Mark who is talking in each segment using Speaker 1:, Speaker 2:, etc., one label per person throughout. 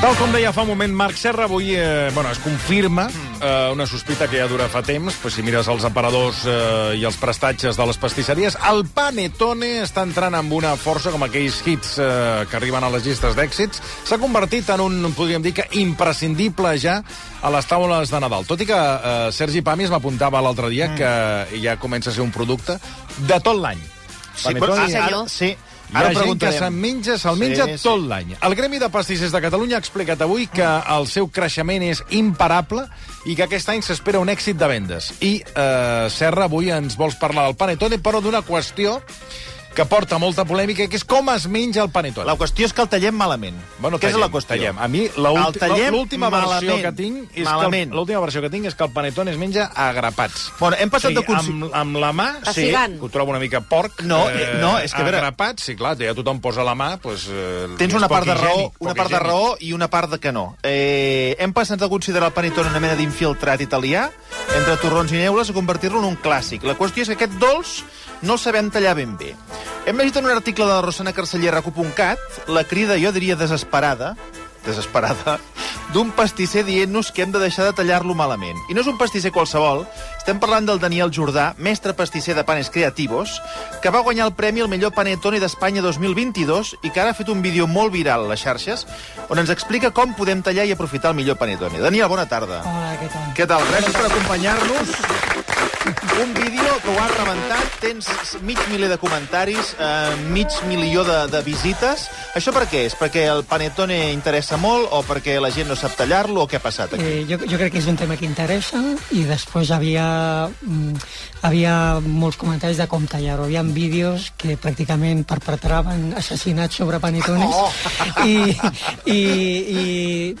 Speaker 1: Tal com deia fa un moment Marc Serra, avui eh, bueno, es confirma eh, una sospita que ja dura fa temps, però si mires els aparadors eh, i els prestatges de les pastisseries, el Panettone està entrant amb una força com aquells hits eh, que arriben a les llistes d'èxits. S'ha convertit en un, podríem dir que imprescindible ja a les taules de Nadal. Tot i que eh, Sergi Pamis m'apuntava l'altre dia mm. que ja comença a ser un producte de tot l'any. Panettone
Speaker 2: ah,
Speaker 1: ja-
Speaker 2: ara, sí.
Speaker 1: hi ha
Speaker 2: Ara ho
Speaker 1: gent que
Speaker 2: preguntarem.
Speaker 1: se'n menja, se'l menja
Speaker 2: Sí,
Speaker 1: sí,
Speaker 2: sí.
Speaker 1: tot l'any. El Gremi de Pastissers de Catalunya ha explicat avui que el seu creixement és imparable i que aquest any s'espera un èxit de vendes. I eh, Serra avui ens vols parlar del panettone, però d'una qüestió que porta molta polèmica, que és com es menja el panettone.
Speaker 2: La qüestió és que el tallem malament.
Speaker 1: Bueno,
Speaker 2: Què
Speaker 1: tallem,
Speaker 2: és la qüestió?
Speaker 1: Tallem. A mi la
Speaker 2: El
Speaker 1: ulti- la-
Speaker 2: tallem
Speaker 1: l'última versió
Speaker 2: malament.
Speaker 1: que tinc és que el-
Speaker 2: malament.
Speaker 1: l'última versió que tinc és que el panettone es menja a grapats.
Speaker 2: Bueno, hem passat de consi-
Speaker 1: amb, amb la mà, sí,
Speaker 3: Castigant.
Speaker 1: que ho trobo una mica porc.
Speaker 2: No, no, és que, a veure-
Speaker 1: Agrapat, sí, clar, ja tothom posa la mà, doncs... Eh,
Speaker 2: Tens
Speaker 1: és
Speaker 2: una
Speaker 1: poc
Speaker 2: part de raó,
Speaker 1: higiènic,
Speaker 2: una
Speaker 1: poc
Speaker 2: part de
Speaker 1: higiènic.
Speaker 2: raó i una part de que no. Eh, hem passat de considerar el panettone una mena d'infiltrat italià entre torrons i neules a convertir-lo en un clàssic. La qüestió és que aquest dolç no el sabem tallar ben bé. Hem llegit en un article de la Rosana Carceller a CUP.cat la crida, jo diria, desesperada, desesperada, d'un pastisser dient-nos que hem de deixar de tallar-lo malament. I no és un pastisser qualsevol, estem parlant del Daniel Jordà, mestre pastisser de panes creativos, que va guanyar el premi al millor panettone d'Espanya 2022 i que ara ha fet un vídeo molt viral a les xarxes on ens explica com podem tallar i aprofitar el millor panettone. Daniel, bona tarda.
Speaker 4: Hola, què tal?
Speaker 2: Què tal? Gràcies per acompanyar-nos. Un vídeo que ho has rebentat, tens mig miler de comentaris, eh, mig milió de, de visites. Això per què és? Perquè el panettone interessa molt o perquè la gent no sap tallar-lo o què ha passat aquí?
Speaker 4: Eh, jo, jo crec que és un tema que interessa i després havia, mm, havia molts comentaris de com tallar-ho. Hi havia vídeos que pràcticament perpetraven assassinats sobre panetones oh. I, i, i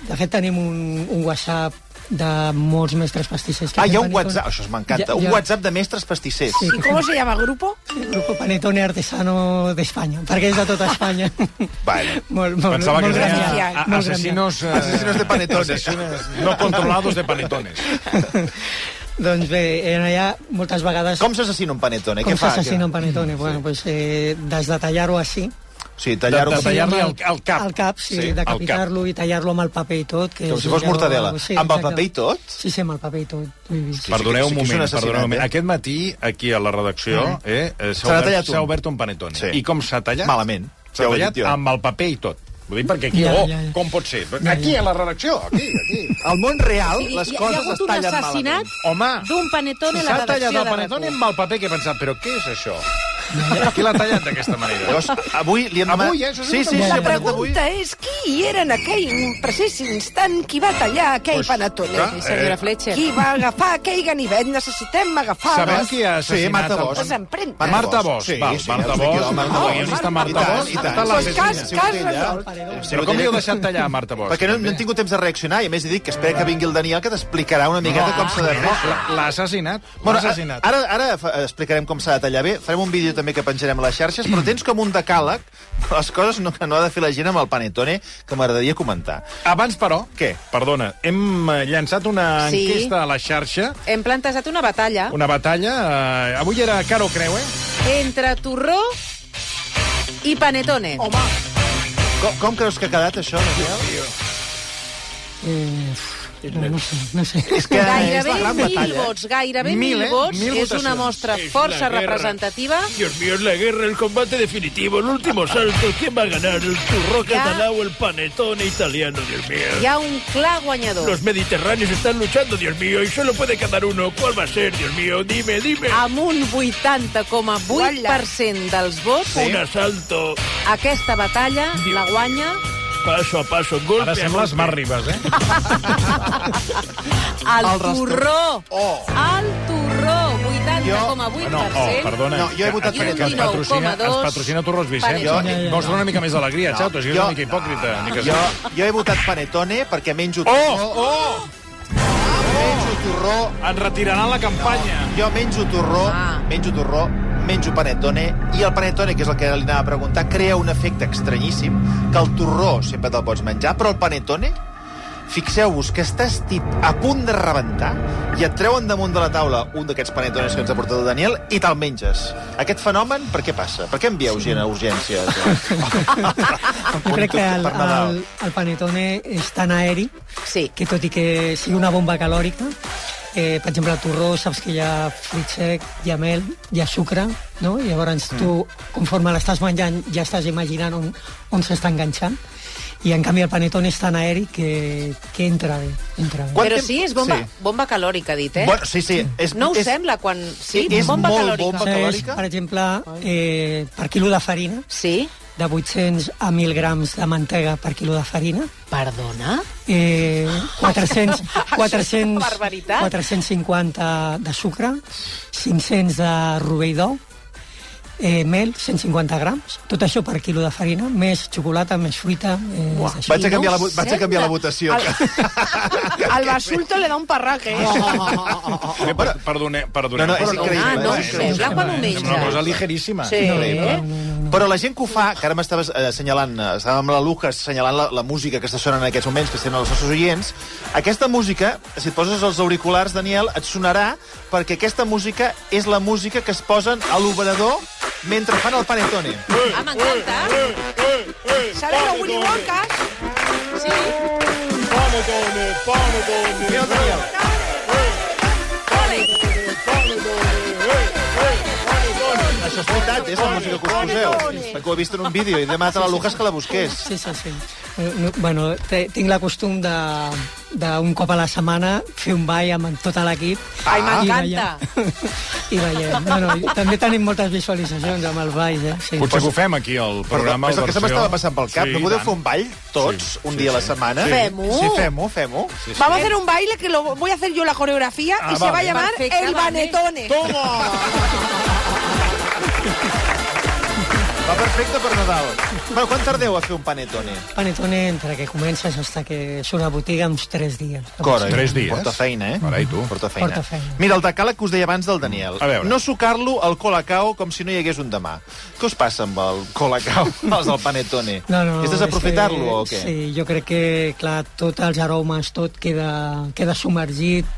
Speaker 4: de fet tenim un, un WhatsApp de molts mestres pastissers. que
Speaker 2: Ah, hi ha
Speaker 4: fan
Speaker 2: un
Speaker 4: panetones.
Speaker 2: WhatsApp, això m'encanta,
Speaker 4: Ja-
Speaker 2: un
Speaker 4: ja-
Speaker 2: WhatsApp de mestres pastissers.
Speaker 4: Sí,
Speaker 3: ¿Y cómo se llama el grupo?
Speaker 4: el grup Panetone Artesano d'Espanya, perquè és de tota Espanya.
Speaker 2: Vale.
Speaker 4: molt, molt,
Speaker 1: Pensava que
Speaker 4: molt gran
Speaker 3: deia
Speaker 4: dia,
Speaker 1: seria
Speaker 3: gran.
Speaker 4: molt gran dia.
Speaker 1: assassinos... Eh,
Speaker 2: Asesinos de panetones.
Speaker 1: asesinos no controlados de panetones.
Speaker 4: Doncs bé, en allà moltes vegades...
Speaker 2: Com s'assassina un panettone?
Speaker 4: Com
Speaker 2: Eh, què fa?
Speaker 4: s'assassina un panetone? Bueno, pues, eh, desdetallar-ho així.
Speaker 2: Sí, tallar-ho...
Speaker 1: De-
Speaker 2: com-
Speaker 1: de- Tallar-li
Speaker 4: Sí, amb
Speaker 1: el- el cap.
Speaker 4: El cap, sí,
Speaker 1: Sí,
Speaker 4: sí
Speaker 1: el
Speaker 4: decapitar-lo i tallar-lo amb el paper i tot. Que
Speaker 2: Com
Speaker 4: és
Speaker 2: si fos
Speaker 4: allò-
Speaker 2: mortadela. Amb el
Speaker 4: exacte.
Speaker 2: paper i tot?
Speaker 4: Sí, sí, amb el paper i tot. Vull dir,
Speaker 2: Sí,
Speaker 1: Perdoneu
Speaker 2: sí
Speaker 1: un
Speaker 2: que és un
Speaker 1: moment,
Speaker 2: assassinat,
Speaker 1: perdoneu un moment.
Speaker 2: eh?
Speaker 1: Aquest matí, aquí a la redacció,
Speaker 2: Mm.
Speaker 1: eh, eh,
Speaker 2: Se n'ha
Speaker 1: s'ha obert,
Speaker 2: tallat un.
Speaker 1: s'ha obert un panetone.
Speaker 2: Sí.
Speaker 1: I com s'ha tallat?
Speaker 2: Malament.
Speaker 1: S'ha
Speaker 2: Ja ho he
Speaker 1: tallat
Speaker 2: dit jo.
Speaker 1: amb el paper i tot. Vull dir, perquè aquí,
Speaker 4: Ja,
Speaker 1: oh,
Speaker 4: ja, ja.
Speaker 1: com pot ser?
Speaker 4: ja.
Speaker 1: Aquí, a la redacció, aquí, aquí.
Speaker 2: Al món real,
Speaker 3: Hi-
Speaker 2: les
Speaker 3: hi- hi ha
Speaker 2: coses
Speaker 3: hagut
Speaker 2: es
Speaker 3: un
Speaker 2: tallen
Speaker 3: assassinat?
Speaker 2: malament.
Speaker 1: Home,
Speaker 3: D'un panetone a la
Speaker 1: s'ha tallat
Speaker 3: redacció
Speaker 1: el
Speaker 3: de
Speaker 1: panetone
Speaker 3: RAC1.
Speaker 1: amb el paper que he pensat, però què és això? Qui l'ha tallat d'aquesta manera?
Speaker 2: Llavors, avui li hem demanat...
Speaker 1: Avui, eh? Això és
Speaker 2: Sí,
Speaker 1: una
Speaker 2: sí,
Speaker 5: La
Speaker 2: sí, ha
Speaker 4: pregunta.
Speaker 2: passat avui.
Speaker 5: pregunta és qui era en aquell precís instant qui va tallar aquell
Speaker 1: Pues,
Speaker 5: pues, panatone?
Speaker 1: clar, eh.
Speaker 3: Senyora Fletcher.
Speaker 5: Qui va agafar aquell ganivet? Necessitem agafar...
Speaker 1: Sabem
Speaker 5: les-
Speaker 1: qui ha
Speaker 2: Sí,
Speaker 1: assassinat
Speaker 2: Marta
Speaker 1: el
Speaker 2: Bosch.
Speaker 5: Les empremtes.
Speaker 1: Marta Bosch,
Speaker 2: Sí,
Speaker 1: val,
Speaker 2: sí,
Speaker 1: Marta
Speaker 2: els d'aquí,
Speaker 1: Bosch,
Speaker 2: la Marta
Speaker 1: la
Speaker 2: Bosch.
Speaker 1: guionista
Speaker 5: Oh,
Speaker 1: Marta
Speaker 5: Marta
Speaker 1: Bosch,
Speaker 5: Bosch, i
Speaker 1: ha
Speaker 5: tant.
Speaker 1: estat
Speaker 5: Pues
Speaker 1: l'assassina.
Speaker 5: cas- cas resolt.
Speaker 1: Però com li heu deixat tallar a Marta Bosch?
Speaker 2: Perquè no, no hem tingut temps de reaccionar, i a més he dit que espera que vingui el Daniel, que t'explicarà una
Speaker 1: Ah.
Speaker 2: miqueta com s'ha de fer. això.
Speaker 1: L'ha- L'ha assassinat. L'ha
Speaker 2: Bueno, a-
Speaker 1: assassinat.
Speaker 2: ara, ara fa- explicarem com s'ha de tallar bé. Farem un vídeo també que penjarem a les xarxes, però tens com un decàleg de les coses no, que no ha de fer la gent amb el panettone, que m'agradaria comentar.
Speaker 1: Abans, però...
Speaker 2: Què?
Speaker 1: Perdona, hem eh, llançat una
Speaker 3: Sí.
Speaker 1: enquesta a la xarxa,
Speaker 3: Hem plantejat una batalla
Speaker 1: una batalla... Eh, avui era Caro Creu, eh?
Speaker 3: entre torró i panetone. Home.
Speaker 2: Com, com creus que ha quedat això, Daniel?
Speaker 4: Eh, no, no sé, no sé.
Speaker 2: És que és
Speaker 3: Gairebé
Speaker 2: la gran
Speaker 3: mil
Speaker 2: batalla.
Speaker 3: vots, gairebé
Speaker 1: Mil,
Speaker 3: mil,
Speaker 1: eh?
Speaker 3: vots.
Speaker 1: Mil
Speaker 3: eh? és una
Speaker 1: votacions.
Speaker 3: mostra
Speaker 6: Es
Speaker 3: força
Speaker 6: la guerra.
Speaker 3: representativa.
Speaker 6: Dios mío, es la guerra, el combate definitivo, el último salto. ¿Quién va a ganar? ¿El turró
Speaker 3: Ya.
Speaker 6: catalán o el panetone italiano? Dios mío.
Speaker 3: Hi ha un clar guanyador.
Speaker 6: Los mediterráneos están luchando, Dios mío, y solo puede quedar uno. ¿Cuál va a ser, Dios mío? Dime, dime.
Speaker 5: Ah,
Speaker 3: Amb un 80,8% dels vots,
Speaker 6: Un asalto
Speaker 3: aquesta batalla la guanya
Speaker 6: paso a paso, golpe
Speaker 1: Ara
Speaker 6: a
Speaker 1: sembles
Speaker 6: golpe.
Speaker 1: Mar Ribas, eh?
Speaker 3: el,
Speaker 2: El rastro-
Speaker 3: torró.
Speaker 2: Oh.
Speaker 3: El torró, 80,8%.
Speaker 1: No, oh, perdona.
Speaker 2: No, jo he votat
Speaker 1: que, que ens
Speaker 3: per ell.
Speaker 1: patrocina, ens
Speaker 3: 19,2.
Speaker 1: patrocina Torros Vicent.
Speaker 3: Jo-
Speaker 1: Mostra una mica més d'alegria, no, xato, és que és
Speaker 2: jo-
Speaker 1: una mica hipòcrita. Ni que...
Speaker 2: Jo, jo he votat panettone perquè menjo
Speaker 1: Oh,
Speaker 2: torró,
Speaker 1: oh!
Speaker 2: menjo torró,
Speaker 1: Ens retiraran la campanya.
Speaker 2: Jo menjo torró,
Speaker 3: Ah.
Speaker 2: menjo torró, menjo panettone, i el panettone, que és el que li anava a preguntar, crea un efecte estranyíssim, que el torró sempre te'l pots menjar, però el panettone fixeu-vos que estàs tip a punt de rebentar i et treuen damunt de la taula un d'aquests panetones que ens ha portat el Daniel i te'l menges. Aquest fenomen, per què passa? Per què envieu gent a urgències?
Speaker 4: Jo crec que el,
Speaker 2: Per Nadal.
Speaker 4: el, el panetone és tan aeri
Speaker 3: Sí.
Speaker 4: que tot i que sigui una bomba calòrica, eh, per exemple, el torró, saps que hi ha fruit sec, hi ha mel, hi ha sucre, no? I llavors tu, conforme l'estàs menjant, ja estàs imaginant on, on s'està enganxant. I, en canvi, el panetone és tan aeri que, que entra bé. Entra bé.
Speaker 2: Quan-
Speaker 3: Però
Speaker 2: temps-
Speaker 3: sí, és bomba,
Speaker 2: sí.
Speaker 3: sí. bomba calòrica, ha dit, eh?
Speaker 2: Bueno, sí, sí. És,
Speaker 3: no ho
Speaker 2: és,
Speaker 3: sembla quan... Sí,
Speaker 2: és
Speaker 3: bomba
Speaker 2: molt
Speaker 3: calòrica.
Speaker 2: bomba
Speaker 4: Això és,
Speaker 2: calòrica?
Speaker 4: per exemple, eh, per quilo de farina,
Speaker 3: Sí?
Speaker 4: de 800 a 1.000 grams de mantega per quilo de farina,
Speaker 3: Perdona?
Speaker 4: eh, 400,
Speaker 3: és una
Speaker 4: 400,
Speaker 3: barbaritat.
Speaker 4: 450 de sucre, 500 de rovell d'ou, eh, mel, 150 grams, tot això per quilo de farina, més xocolata, més fruita... Eh, és així.
Speaker 2: Vaig a,
Speaker 3: I no
Speaker 2: canviar la,
Speaker 3: ho
Speaker 2: vo- vaig a canviar la votació.
Speaker 5: Al basulto le da un parraque.
Speaker 1: Eh, per, perdone, perdoneu.
Speaker 2: No, no, és
Speaker 1: però
Speaker 2: increïble,
Speaker 3: Ah, no
Speaker 2: eh?
Speaker 3: ho
Speaker 2: És
Speaker 3: sembla quan ho
Speaker 1: És una cosa
Speaker 3: menges.
Speaker 1: ligeríssima.
Speaker 3: Sí.
Speaker 2: Increïble.
Speaker 3: Eh?
Speaker 2: Però la gent que ho fa, que ara m'estaves eh, assenyalant, eh, estàvem amb la Lucas assenyalant la, la música que està sonant en aquests moments, que estan els nostres oients, aquesta música, si et poses els auriculars, Daniel, et sonarà perquè aquesta música és la música que es posen a l'obrador mentre fan el panetone.
Speaker 3: Ah, m'encanta.
Speaker 6: Eh,
Speaker 5: Sabeu a Willy Wonka?
Speaker 3: Sí.
Speaker 2: Mira el Daniel. Això és veritat, és la música que us poseu. Perquè ho he vist en un vídeo i he demanat a la Lucas que la busqués.
Speaker 4: Sí, sí, sí. Eh, no, Bueno, te, tinc la costum de, de un cop a la setmana fer un ball amb tot l'equip. Ah.
Speaker 3: Ai,
Speaker 4: i
Speaker 3: m'encanta.
Speaker 4: ballem. I ballem. No, no, i també tenim moltes visualitzacions amb els balls, eh? Sí.
Speaker 1: Potser que ho fem aquí, al programa.
Speaker 2: Perdó, és el que se
Speaker 1: versió-
Speaker 2: m'estava passant pel cap.
Speaker 1: Sí,
Speaker 2: no podeu
Speaker 1: i
Speaker 2: fer un
Speaker 1: tant.
Speaker 2: ball tots
Speaker 1: Sí,
Speaker 2: un
Speaker 1: sí,
Speaker 2: dia a la
Speaker 1: sí.
Speaker 2: setmana?
Speaker 1: Sí.
Speaker 3: Fem-ho.
Speaker 2: Sí, fem-ho, fem-ho.
Speaker 1: Sí, sí.
Speaker 5: Vamos a hacer un baile que lo voy a hacer yo la coreografía
Speaker 1: Ah,
Speaker 5: y se va a
Speaker 1: vale.
Speaker 5: llamar
Speaker 3: Perfecte,
Speaker 5: El
Speaker 3: vale.
Speaker 5: Banetone.
Speaker 2: Va perfecte per Nadal. Però quan tardeu a fer un panetone?
Speaker 4: Panetone entre que comences fins que surt a botiga uns 3 dies.
Speaker 2: Cora, eh?
Speaker 1: Tres dies.
Speaker 2: Porta feina, eh?
Speaker 1: Carai, tu.
Speaker 2: Porta feina.
Speaker 4: Porta feina.
Speaker 2: Mira, el decàleg que us deia abans del Daniel.
Speaker 1: A veure.
Speaker 2: No sucar-lo al colacao com si no hi hagués un demà. Què us passa amb el colacao, els del panetone?
Speaker 4: No, no,
Speaker 2: és desaprofitar-lo
Speaker 4: que-
Speaker 2: o què?
Speaker 4: Sí, jo crec que, clar, tots els aromes, tot queda, queda submergit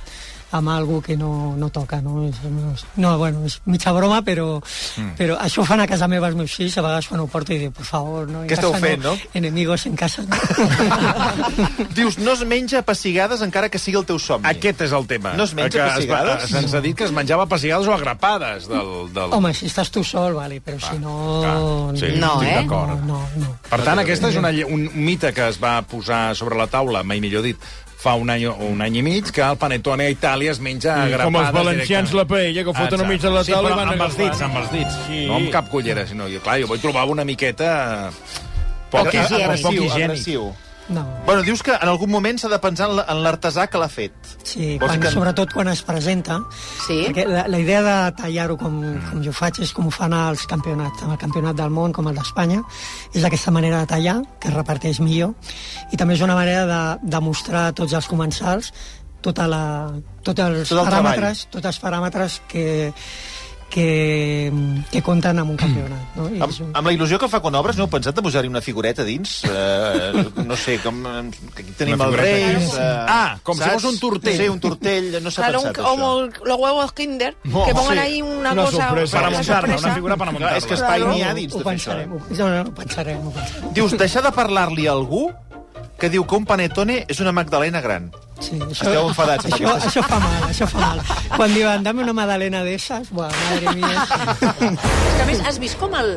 Speaker 4: amb algo que no, no toca, no? És, no, és- no, bueno, és mitja broma, però, mm. però això ho fan a casa meva els meus fills, a vegades quan ho porto i dic, por favor, no? En
Speaker 2: Què esteu
Speaker 4: casa
Speaker 2: fent, no?"
Speaker 4: Enemigos en casa, no?
Speaker 2: Dius, no es menja pessigades encara que sigui el teu somni.
Speaker 1: Aquest és el tema.
Speaker 2: No es menja
Speaker 1: Que es va-
Speaker 2: pessigades?
Speaker 1: Se'ns ha dit que es menjava pessigades o agrapades del... del...
Speaker 4: Home, si estàs tu sol, vale, però si no...
Speaker 1: clar, sí,
Speaker 3: No,
Speaker 1: estic
Speaker 3: eh?
Speaker 4: No,
Speaker 1: d'acord.
Speaker 4: no, no.
Speaker 1: Per tant, aquesta és una, lle- un mite que es va posar sobre la taula, mai millor dit, fa un any o un any i mig, que el panettone a Itàlia es menja a grapades
Speaker 6: Com els valencians la
Speaker 1: directament.
Speaker 6: paella, que foten a mig de la
Speaker 1: Ah, sí,
Speaker 6: taula
Speaker 1: però
Speaker 6: i van
Speaker 1: amb els dits,
Speaker 6: agafant.
Speaker 1: amb els dits.
Speaker 6: Sí.
Speaker 1: No amb cap cullera, sinó... Jo, clar, jo vull trobar una miqueta...
Speaker 3: Poc higiènic.
Speaker 2: Poc
Speaker 6: higiènic.
Speaker 2: Agressiu.
Speaker 4: No.
Speaker 2: Bueno, dius que en algun moment s'ha de pensar en la- en l'artesà que l'ha fet.
Speaker 4: Sí,
Speaker 2: Vols
Speaker 4: quan,
Speaker 2: que-
Speaker 4: que... sobretot quan es presenta.
Speaker 3: Sí.
Speaker 4: Perquè la, la idea de tallar-ho com, com jo faig és com ho fan als campionats, amb el campionat del món com el d'Espanya. És aquesta manera de tallar, que es reparteix millor. I també és una manera de, de mostrar a tots els comensals tota la, tot els
Speaker 2: Tot el
Speaker 4: paràmetres, tots els paràmetres que, que, que compten amb un campionat. No? I és
Speaker 2: Amb,
Speaker 4: un...
Speaker 2: amb la il·lusió que fa quan obres, no heu pensat de posar-hi una figureta dins? Uh, no sé, com... eh, Aquí tenim
Speaker 1: Una
Speaker 2: el
Speaker 1: figureta
Speaker 2: rei... eh,
Speaker 1: dins. Ah, com si fos un tortell.
Speaker 2: Sí, un tortell, no s'ha
Speaker 5: Claro, un-
Speaker 2: pensat,
Speaker 5: como
Speaker 2: això.
Speaker 5: los huevos Kinder,
Speaker 2: No,
Speaker 5: que pongan
Speaker 2: sí.
Speaker 5: ahí una,
Speaker 6: Una
Speaker 5: cosa
Speaker 6: sorpresa.
Speaker 1: Para
Speaker 6: Para
Speaker 1: muntar-la, una figura per
Speaker 2: Clar,
Speaker 1: muntar-la.
Speaker 2: és que espai
Speaker 5: Claro.
Speaker 2: n'hi ha dins de
Speaker 4: ho
Speaker 2: fer això. eh?
Speaker 4: pensarem, ho, no, no, ho pensarem, ho pensarem.
Speaker 2: Dius, deixar de parlar-li a algú que diu que un panetone és una magdalena gran.
Speaker 4: Sí, això,
Speaker 2: Esteu enfadats amb
Speaker 4: això,
Speaker 2: aquestes-
Speaker 4: això fa mal, això fa mal. Quan diuen, dame una magdalena d'esas, buah, madre mía.
Speaker 3: És que, a més, has vist com el...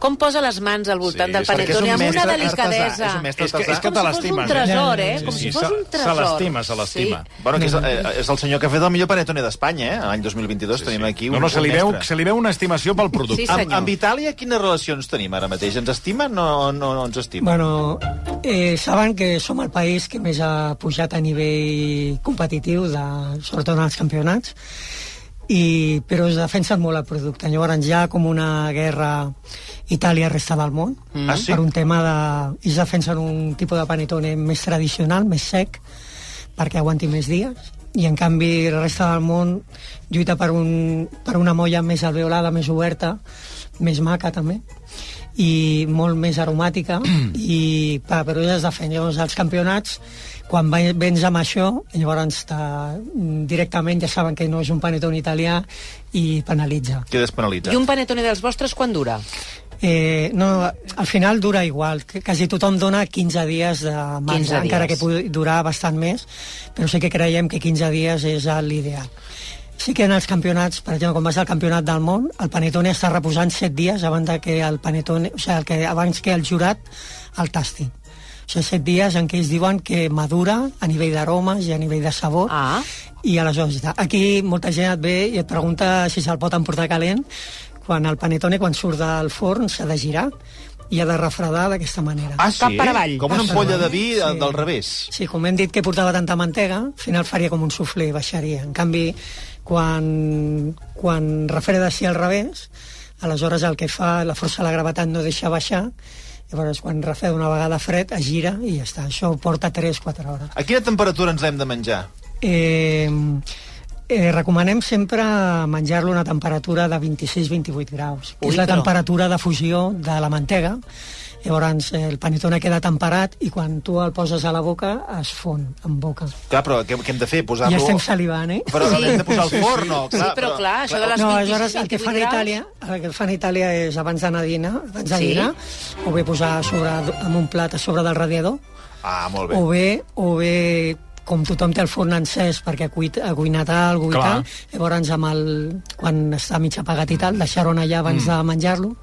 Speaker 3: Com posa les mans al
Speaker 1: Sí,
Speaker 3: voltant sí, del
Speaker 1: és perquè
Speaker 2: és un
Speaker 3: panetone amb una
Speaker 2: mestre artesà,
Speaker 3: delicadesa.
Speaker 2: és un mestre
Speaker 1: És que, és que
Speaker 3: Com
Speaker 1: te
Speaker 3: si fos un
Speaker 1: l'estimes. eh?
Speaker 3: tresor, eh?
Speaker 1: Sí,
Speaker 3: Com
Speaker 1: sí,
Speaker 3: si
Speaker 1: se-
Speaker 3: fos un tresor.
Speaker 1: Se l'estima, se l'estima.
Speaker 3: Sí.
Speaker 2: Bueno, que és, eh, és el senyor que ha fet el millor panetone d'Espanya, eh? L'any 2022 sí, tenim aquí un,
Speaker 1: No, no, se li,
Speaker 2: un
Speaker 1: veu,
Speaker 2: mestre.
Speaker 1: se li veu una estimació pel producte. Ah.
Speaker 3: Sí, sí.
Speaker 2: Amb,
Speaker 3: senyor.
Speaker 2: amb Itàlia, quines relacions tenim ara mateix? Ens estimen o no, no ens estimen?
Speaker 4: Bueno, eh, saben que som el país que més ha pujat a nivell competitiu, de, sobretot en els campionats, i, però es defensen molt el producte. Llavors hi ha com una guerra Itàlia-resta del món,
Speaker 2: Ah, sí?
Speaker 4: per un tema de... Ells defensen un tipus de panetone més tradicional, més sec, perquè aguanti més dies i en canvi la resta del món lluita per, un, per una molla més alveolada, més oberta, més maca també i molt més aromàtica i per, però ja has de fer llavors els campionats quan vai- vens amb això llavors te, directament ja saben que no és un panetone italià i penalitza
Speaker 2: Quedes penalitzat.
Speaker 3: I un panetone dels vostres quan dura?
Speaker 4: Eh, no, al final dura igual. que Quasi tothom dona 15 dies de marge,
Speaker 3: 15 dies.
Speaker 4: encara que pugui durar bastant més, però sí que creiem que 15 dies és l'ideal. Sí que en els campionats, per exemple, quan vas al campionat del món, el panetone està reposant 7 dies abans de que el panetone, o sigui, el que, abans que el jurat el tasti. O sigui, 7 dies en què ells diuen que madura a nivell d'aromes i a nivell de sabor.
Speaker 3: Ah.
Speaker 4: I aleshores, aquí molta gent et ve i et pregunta si se'l pot emportar calent. Quan el panetone, quan surt del forn, s'ha de girar i ha de refredar d'aquesta manera.
Speaker 2: Ah, sí?
Speaker 3: Cap per avall.
Speaker 2: Com una
Speaker 4: Cap per
Speaker 2: ampolla de
Speaker 4: avall,
Speaker 2: vi
Speaker 4: sí.
Speaker 2: eh, del revés.
Speaker 4: Sí, com hem dit que portava tanta mantega, al final faria com un suflé i baixaria. En canvi, quan, quan refreda així al revés, aleshores el que fa, la força de la gravetat no deixa baixar, llavors quan refreda una vegada fred, es gira i ja està. Això porta 3-4 hores.
Speaker 2: A quina temperatura ens l'hem de menjar?
Speaker 4: Eh, eh, recomanem sempre menjar-lo a una temperatura de 26-28 graus, que
Speaker 3: Ui,
Speaker 4: és la
Speaker 3: però-
Speaker 4: temperatura de fusió de la mantega. Llavors, eh, el panetone queda temperat i quan tu el poses a la boca es fon en boca.
Speaker 2: Clar, però què, què hem de fer?
Speaker 4: Ja
Speaker 2: Posar-lo...
Speaker 4: estem salivant, eh?
Speaker 2: Però l'hem de posar al forn, o...
Speaker 3: Sí, però clar, això de les
Speaker 4: No,
Speaker 3: 26,
Speaker 4: aleshores el que fan a
Speaker 3: 28
Speaker 4: Itàlia, el que fan a Itàlia és abans d'anar a dinar, abans de
Speaker 3: Sí.
Speaker 4: dinar, o bé posar a sobre, amb un plat a sobre del radiador,
Speaker 2: Ah, molt bé.
Speaker 4: o bé, o bé com tothom té el forn encès perquè ha, cuit, ha cuinat alguna
Speaker 1: Clar.
Speaker 4: cosa i tal, llavors amb el, quan està mig apagat i tal, deixar-ho anar allà abans mm. de menjar-lo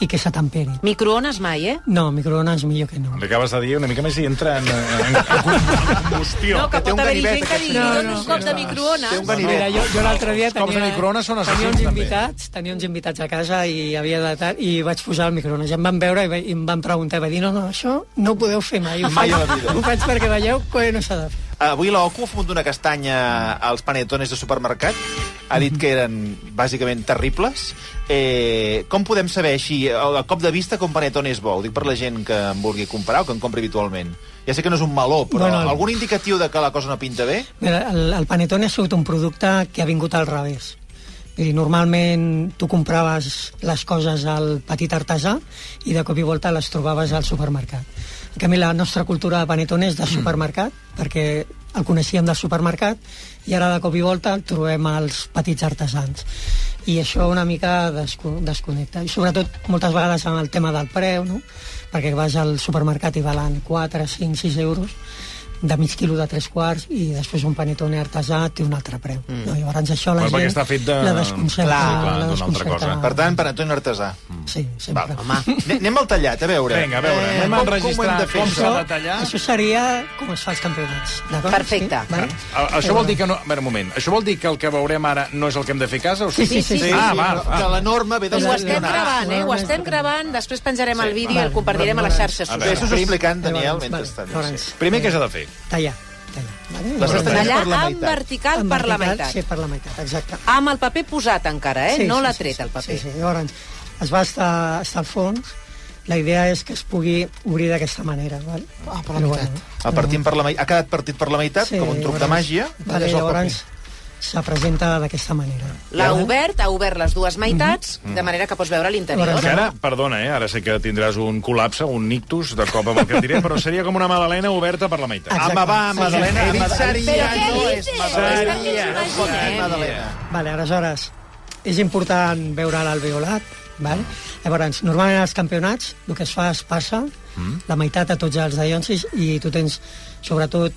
Speaker 4: i que se temperi.
Speaker 3: Microones mai, eh?
Speaker 4: No, microones millor que no.
Speaker 1: Li acabes de dir una mica més i entra en, en, en combustió.
Speaker 3: No, que
Speaker 2: té
Speaker 3: pot
Speaker 2: un
Speaker 3: haver-hi
Speaker 2: ganivet,
Speaker 3: gent que
Speaker 2: aquest.
Speaker 3: digui,
Speaker 4: No,
Speaker 3: no, no,
Speaker 4: no,
Speaker 3: un cop de
Speaker 2: Té un
Speaker 3: microones.
Speaker 2: ganivet.
Speaker 4: Mira, jo, jo l'altre dia
Speaker 1: Els cops de
Speaker 4: tenia...
Speaker 1: microones són
Speaker 4: tenia
Speaker 1: assassins,
Speaker 4: uns
Speaker 1: també.
Speaker 4: invitats, tenia uns invitats a casa i havia de tar... i vaig posar el microones. Ja em van veure i, va... i em van preguntar, va dir, no, no, això no ho podeu fer mai. Ho
Speaker 2: Mai
Speaker 4: faig-
Speaker 2: a la vida.
Speaker 4: Ho faig perquè veieu que no s'ha de fer.
Speaker 2: Avui l'OCU ha fumut una castanya als panetones de supermercat. Ha
Speaker 3: Mhm.
Speaker 2: dit que eren bàsicament terribles. Eh, com podem saber així, a cop de vista, com panetone és bo? Ho dic per la gent que em vulgui comprar o que en compri habitualment. Ja sé que no és un meló, però
Speaker 4: Bueno,
Speaker 2: bueno,
Speaker 4: el-
Speaker 2: algun indicatiu de que la cosa no pinta bé?
Speaker 4: Mira, el, el panetone ha sigut un producte que ha vingut al revés. I normalment tu compraves les coses al petit artesà i de cop i volta les trobaves al supermercat. En canvi, la nostra cultura de panetone és de supermercat, perquè el coneixíem del supermercat, i ara de cop i volta el trobem als petits artesans. I això una mica desco desconnecta. I sobretot moltes vegades amb el tema del preu, no? perquè vas al supermercat i valen 4, 5, 6 euros, de mig quilo de tres quarts i després un panetone artesà té un altre preu. Mm. No, llavors això la
Speaker 1: Però perquè
Speaker 4: gent
Speaker 1: està fet de-
Speaker 4: la desconcerta.
Speaker 1: Clar, clar,
Speaker 4: la
Speaker 1: d'una altra
Speaker 4: desconcerta.
Speaker 1: cosa.
Speaker 2: Per tant, panetone artesà.
Speaker 4: sí, sempre.
Speaker 2: Val. Ane- Ah, Anem al tallat, a veure.
Speaker 1: Vinga, a veure, anem a
Speaker 2: com-
Speaker 1: enregistrar
Speaker 2: Com ho hem de fer,
Speaker 1: com
Speaker 2: això?
Speaker 1: s'ha de tallar.
Speaker 4: Això seria com es fa els campionats. d'acord?
Speaker 3: Perfecte.
Speaker 4: Sí, vale?
Speaker 1: A, això vol dir que no... A veure, un moment. Això vol dir que el que veurem ara no és el que hem de fer a casa? O
Speaker 4: Sí, sí, sí. sí.
Speaker 2: Sí,
Speaker 1: Ah,
Speaker 2: sí,
Speaker 1: va, va.
Speaker 2: que la norma ve del
Speaker 3: Ho estem
Speaker 2: tribunal.
Speaker 3: gravant, eh? Ho estem gravant, després penjarem el vídeo i el
Speaker 4: vale.
Speaker 3: compartirem a les xarxes
Speaker 1: A
Speaker 2: Bé,
Speaker 1: veure.
Speaker 3: socials.
Speaker 2: Això us ho explicant, Daniel,
Speaker 4: Llavors,
Speaker 2: mentrestant.
Speaker 4: vale,
Speaker 2: sí.
Speaker 4: llavors,
Speaker 1: Primer, què s'ha de fer?
Speaker 4: Tallar, tallar. Vale?
Speaker 2: Les
Speaker 4: Llavors,
Speaker 2: castanyes per la
Speaker 3: Tallar en
Speaker 2: meitat.
Speaker 4: en
Speaker 3: vertical per la
Speaker 4: vertical,
Speaker 3: meitat.
Speaker 4: Sí, per la meitat, exacte.
Speaker 3: Amb el paper posat encara, eh? No l'ha tret, el
Speaker 4: Sí,
Speaker 3: paper.
Speaker 4: sí. Llavors, es va estar, estar al fons. La idea és que es pugui obrir d'aquesta manera. Val? Ah, per la meitat.
Speaker 2: Ah, partint per la mei- Ha quedat partit per la meitat, com un truc de màgia.
Speaker 4: Vale,
Speaker 2: Talles el paper.
Speaker 4: llavors se presenta d'aquesta manera.
Speaker 3: L'ha obert, ha obert les dues meitats, de manera que pots veure l'interior.
Speaker 1: Que ara, perdona, eh, ara sé que tindràs un col·lapse, un ictus, de cop amb el que et diré, però seria com una magdalena oberta per la meitat.
Speaker 4: Exacte.
Speaker 2: Ama, Ah, va,
Speaker 4: Sí, sí.
Speaker 2: Madalena.
Speaker 1: He dit
Speaker 2: Ama-
Speaker 3: Però què
Speaker 2: no és
Speaker 3: dices?
Speaker 2: Madalena.
Speaker 3: És que ens
Speaker 2: No es pot dir
Speaker 3: imaginem.
Speaker 2: Madalena.
Speaker 4: Vale, aleshores, és important veure l'alveolat, vale? Llavors, normalment als campionats el que es fa es passa mm. la meitat a tots els dallonsis i tu tens, sobretot,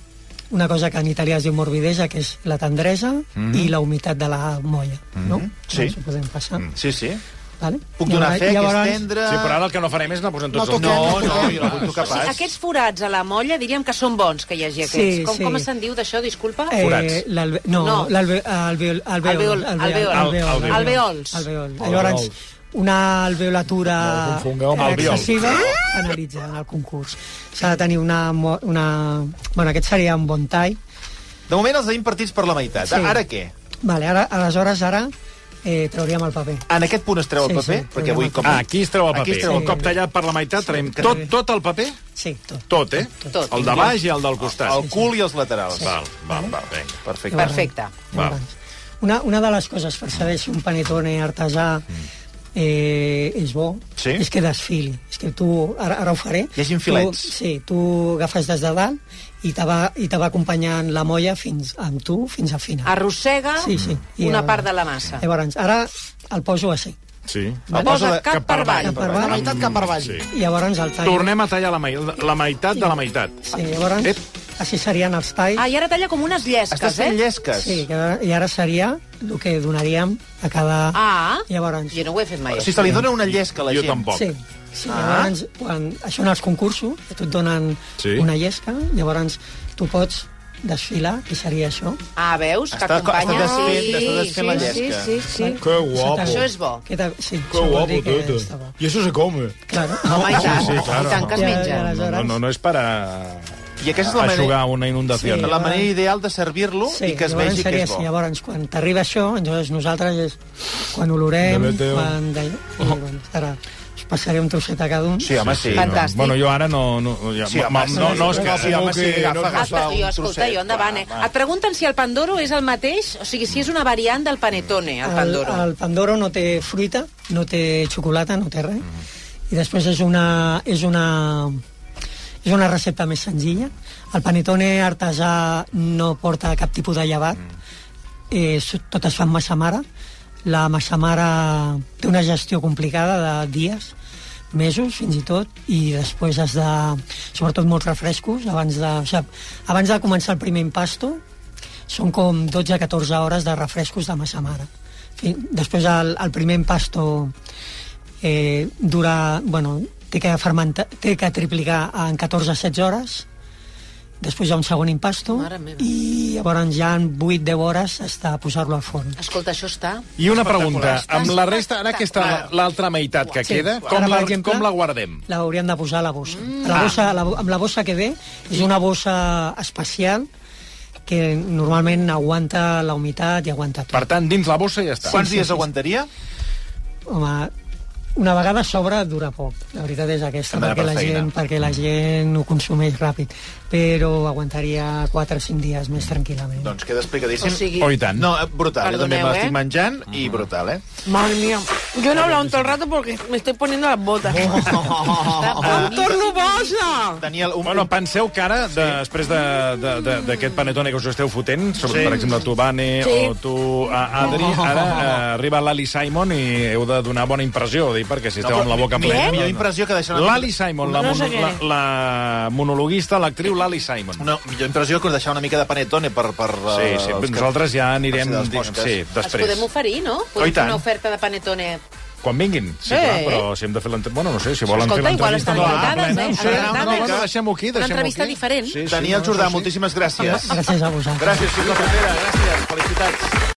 Speaker 4: una cosa que en italià es diu morbidesa, que és la tendresa mm. i la humitat de la molla, mm. no?
Speaker 2: Mm-hmm. Sí.
Speaker 4: Doncs ho podem passar, mm.
Speaker 2: Sí, sí.
Speaker 4: vale?
Speaker 2: Puc donar fe que és tendre...
Speaker 1: Sí, però ara el que no farem és anar posant tots
Speaker 2: No,
Speaker 1: els...
Speaker 2: no, jo la vull
Speaker 3: O
Speaker 2: tocar
Speaker 3: sigui,
Speaker 2: pas.
Speaker 3: aquests forats a la molla diríem que són bons que hi hagi aquests.
Speaker 4: Sí,
Speaker 3: com,
Speaker 4: sí.
Speaker 3: com se'n diu d'això, disculpa?
Speaker 1: Forats.
Speaker 4: l'alve... Eh, No,
Speaker 3: No.
Speaker 4: no. l'alveol... Alveol,
Speaker 3: Alveol,
Speaker 4: alveol,
Speaker 3: alveol.
Speaker 1: Alveol.
Speaker 3: Alveols.
Speaker 4: Alveol. Llavors, una alveolatura
Speaker 1: confongueu amb albiol.
Speaker 4: excessiva analitza en el concurs. S'ha de tenir una, mo- una... Bueno, aquest seria un bon tall.
Speaker 2: De moment els tenim partits per la meitat.
Speaker 4: Sí.
Speaker 2: Ara què?
Speaker 4: Vale, ara, aleshores, ara eh, trauríem el paper.
Speaker 2: En aquest punt es treu el
Speaker 4: Sí, sí,
Speaker 2: paper? Perquè avui com...
Speaker 1: Ah, aquí es treu el paper.
Speaker 2: Aquí es treu el
Speaker 1: Un cop
Speaker 2: paper.
Speaker 1: tallat per la meitat, traiem tot, tot el paper?
Speaker 4: Sí, tot.
Speaker 1: Tot, eh?
Speaker 3: Tot.
Speaker 1: El de baix i el del costat.
Speaker 2: El cul i els laterals.
Speaker 1: Val, val, val, vinga.
Speaker 2: Perfecte.
Speaker 4: Llavors,
Speaker 3: Perfecte.
Speaker 4: llavors, Una, una de les coses per saber si un panetone artesà eh, és bo.
Speaker 2: Mm. Sí?
Speaker 4: És que desfili. És que tu, ara, ara ho faré.
Speaker 2: Hi hagi filets.
Speaker 4: Tu, sí, tu agafes des de dalt i te va, i te va acompanyant la molla fins amb tu fins al final.
Speaker 3: Arrossega
Speaker 4: Sí, sí. I
Speaker 3: una
Speaker 4: el- Eh,
Speaker 3: part de la massa.
Speaker 4: Llavors, ara el poso així.
Speaker 1: Sí.
Speaker 2: El posa
Speaker 3: Posa
Speaker 2: de-
Speaker 3: cap, per avall.
Speaker 4: cap per avall.
Speaker 7: La meitat cap per avall.
Speaker 1: Sí.
Speaker 4: I llavors el tallo.
Speaker 1: Tornem a tallar la, mei- la meitat de la meitat.
Speaker 4: Sí, llavors,
Speaker 1: Ep.
Speaker 4: així serien els talls.
Speaker 3: Ah, i ara talla com unes llesques,
Speaker 2: Estàs fent
Speaker 3: eh?
Speaker 2: llesques.
Speaker 4: Sí, que, i ara seria el que donaríem a cada...
Speaker 3: Ah,
Speaker 4: Llavors...
Speaker 3: jo no ho he fet mai.
Speaker 2: Si se li dona una llesca a la
Speaker 1: Jo
Speaker 2: gent.
Speaker 1: tampoc.
Speaker 4: Sí. Sí, llavors, quan, això en els concursos, a tu et donen
Speaker 1: Sí.
Speaker 4: una llesca, llavors tu pots desfilar, i seria això.
Speaker 3: Ah, veus? Que
Speaker 2: Està-
Speaker 3: acompanya...
Speaker 2: està desfent-
Speaker 3: Sí,
Speaker 2: està desfent la
Speaker 3: sí,
Speaker 2: llesca.
Speaker 3: Sí, sí, sí.
Speaker 7: Que guapo.
Speaker 3: Això és bo.
Speaker 4: Que te, sí,
Speaker 7: Que
Speaker 4: això vol
Speaker 7: guapo,
Speaker 4: dir que
Speaker 7: tete.
Speaker 4: està bo.
Speaker 7: I això se come.
Speaker 4: Claro.
Speaker 3: Home, i tant,
Speaker 1: Sí, sí, claro.
Speaker 3: i tant que es
Speaker 4: Ja,
Speaker 3: menja.
Speaker 4: ja,
Speaker 1: No, no, no, no és per a...
Speaker 2: I aquesta és la manera,
Speaker 1: Aixugar una inundació.
Speaker 4: Sí.
Speaker 1: Sí.
Speaker 2: la manera ideal de servir-lo i que es
Speaker 4: llavors
Speaker 2: vegi que
Speaker 4: seria
Speaker 2: és bo.
Speaker 4: així. Llavors, quan t'arriba això, llavors nosaltres és quan olorem,
Speaker 7: De meteo.
Speaker 4: quan... De... I, bueno, ara us passaré un trosset a cada un.
Speaker 2: Sí, home, sí.
Speaker 3: Fantàstic.
Speaker 1: Bueno, jo ara no... no, ja,
Speaker 2: Sí, home,
Speaker 1: ma- no, no, és
Speaker 2: sí,
Speaker 1: que...
Speaker 2: home, sí,
Speaker 7: que-
Speaker 2: agafa,
Speaker 7: no-
Speaker 3: Ah,
Speaker 2: agafa
Speaker 3: però jo,
Speaker 2: un
Speaker 3: escolta,
Speaker 2: trosset.
Speaker 3: jo endavant,
Speaker 2: Va,
Speaker 3: eh?
Speaker 2: va.
Speaker 3: Et pregunten si el pandoro és el mateix, o sigui, si és una variant del panetone, el pandoro.
Speaker 4: El, el pandoro no té fruita, no té xocolata, no té res. Mm.
Speaker 3: Mm-hmm.
Speaker 4: I després és una, és una, és una recepta més senzilla. El panetone artesà no porta cap tipus de llevat. Mm. Eh, s- tot es fa amb massa mare. La massa mare té una gestió complicada de dies, mesos, fins i tot, i després has de... Sobretot molts refrescos, abans de, o sigui, abans de començar el primer impasto, són com 12-14 hores de refrescos de massa mare. Fi- Després el, el primer impasto eh, dura, bueno, té que, fermentar, té que triplicar en 14-16 hores, després hi ha un segon impasto
Speaker 3: Mare meva.
Speaker 4: i llavors ja en 8-10 hores està a posar-lo al forn.
Speaker 1: Eh?
Speaker 3: Escolta, això està...
Speaker 1: I una pregunta,
Speaker 3: Espectacular.
Speaker 1: amb la resta, ara aquesta, l'altra meitat que queda, com
Speaker 4: Ara, per
Speaker 1: la,
Speaker 4: exemple,
Speaker 1: com la guardem? Mm. Ah.
Speaker 4: L'hauríem de posar a la bossa. A la bossa la, bo- amb la bossa que ve és una bossa especial que normalment aguanta la humitat i aguanta tot.
Speaker 1: Per tant, dins la bossa ja està.
Speaker 2: Quants dies aguantaria?
Speaker 4: Home, una vegada s'obre dura poc. La veritat és aquesta,
Speaker 2: Hem d'anar
Speaker 4: perquè
Speaker 2: per
Speaker 4: la,
Speaker 2: feina.
Speaker 4: gent, perquè la gent ho consumeix ràpid. Però aguantaria 4 o 5 dies més tranquil·lament.
Speaker 2: Doncs queda explicadíssim.
Speaker 3: O sigui-
Speaker 1: Oh, i tant.
Speaker 2: No, eh, brutal. jo també
Speaker 3: Perdoneu,
Speaker 2: me l'estic
Speaker 3: eh?
Speaker 2: menjant i brutal, eh?
Speaker 7: Madre mía.
Speaker 5: Yo no he hablado en todo el rato porque me estoy poniendo las botas.
Speaker 3: Oh, Està
Speaker 5: ¡Tornubosa!
Speaker 2: Daniel, un...
Speaker 1: Bueno, penseu que ara, de, després de- de- de- d'aquest panetone que us esteu fotent, sobre, sí. per exemple, tu, Bane, sí. o tu, a- Adri, ara eh, arriba l'Ali Simon i heu de donar bona impressió, dic, perquè si esteu amb la boca
Speaker 2: mi-
Speaker 1: plena...
Speaker 2: millor
Speaker 1: no, no.
Speaker 2: impressió que deixar una-
Speaker 1: L'Ali Simon, la,
Speaker 5: No
Speaker 1: mono,
Speaker 5: sé què.
Speaker 1: la, la monologuista, l'actriu Lali Simon.
Speaker 2: Una millor impressió que deixar una mica de panetone per... per
Speaker 1: Sí, sí, nosaltres ja anirem...
Speaker 2: per si de les
Speaker 1: di-
Speaker 2: fosques.
Speaker 1: Sí,
Speaker 3: Els podem
Speaker 1: després.
Speaker 3: oferir, no?
Speaker 1: Oh, i
Speaker 3: Podem fer
Speaker 1: tant.
Speaker 3: una oferta de panetone.
Speaker 1: Quan vinguin. Sí,
Speaker 3: Eh.
Speaker 1: clar, però si hem de fer l'entrevista... Bueno, no sé, si volen
Speaker 3: Escolta,
Speaker 1: fer
Speaker 3: igual
Speaker 1: l'entrevista...
Speaker 3: estan
Speaker 1: no,
Speaker 3: invitades,
Speaker 1: plena, No,
Speaker 3: eh?
Speaker 1: ho sé, no, no,
Speaker 3: Invitades.
Speaker 1: no, deixem-ho aquí, deixem-ho
Speaker 3: Una
Speaker 1: aquí.
Speaker 3: entrevista diferent.
Speaker 2: Daniel
Speaker 1: no, no,
Speaker 2: Jordà,
Speaker 1: sí.
Speaker 2: moltíssimes gràcies.
Speaker 4: Gràcies a vosaltres.
Speaker 2: Gràcies, Xavier Cabrera, gràcies, felicitats.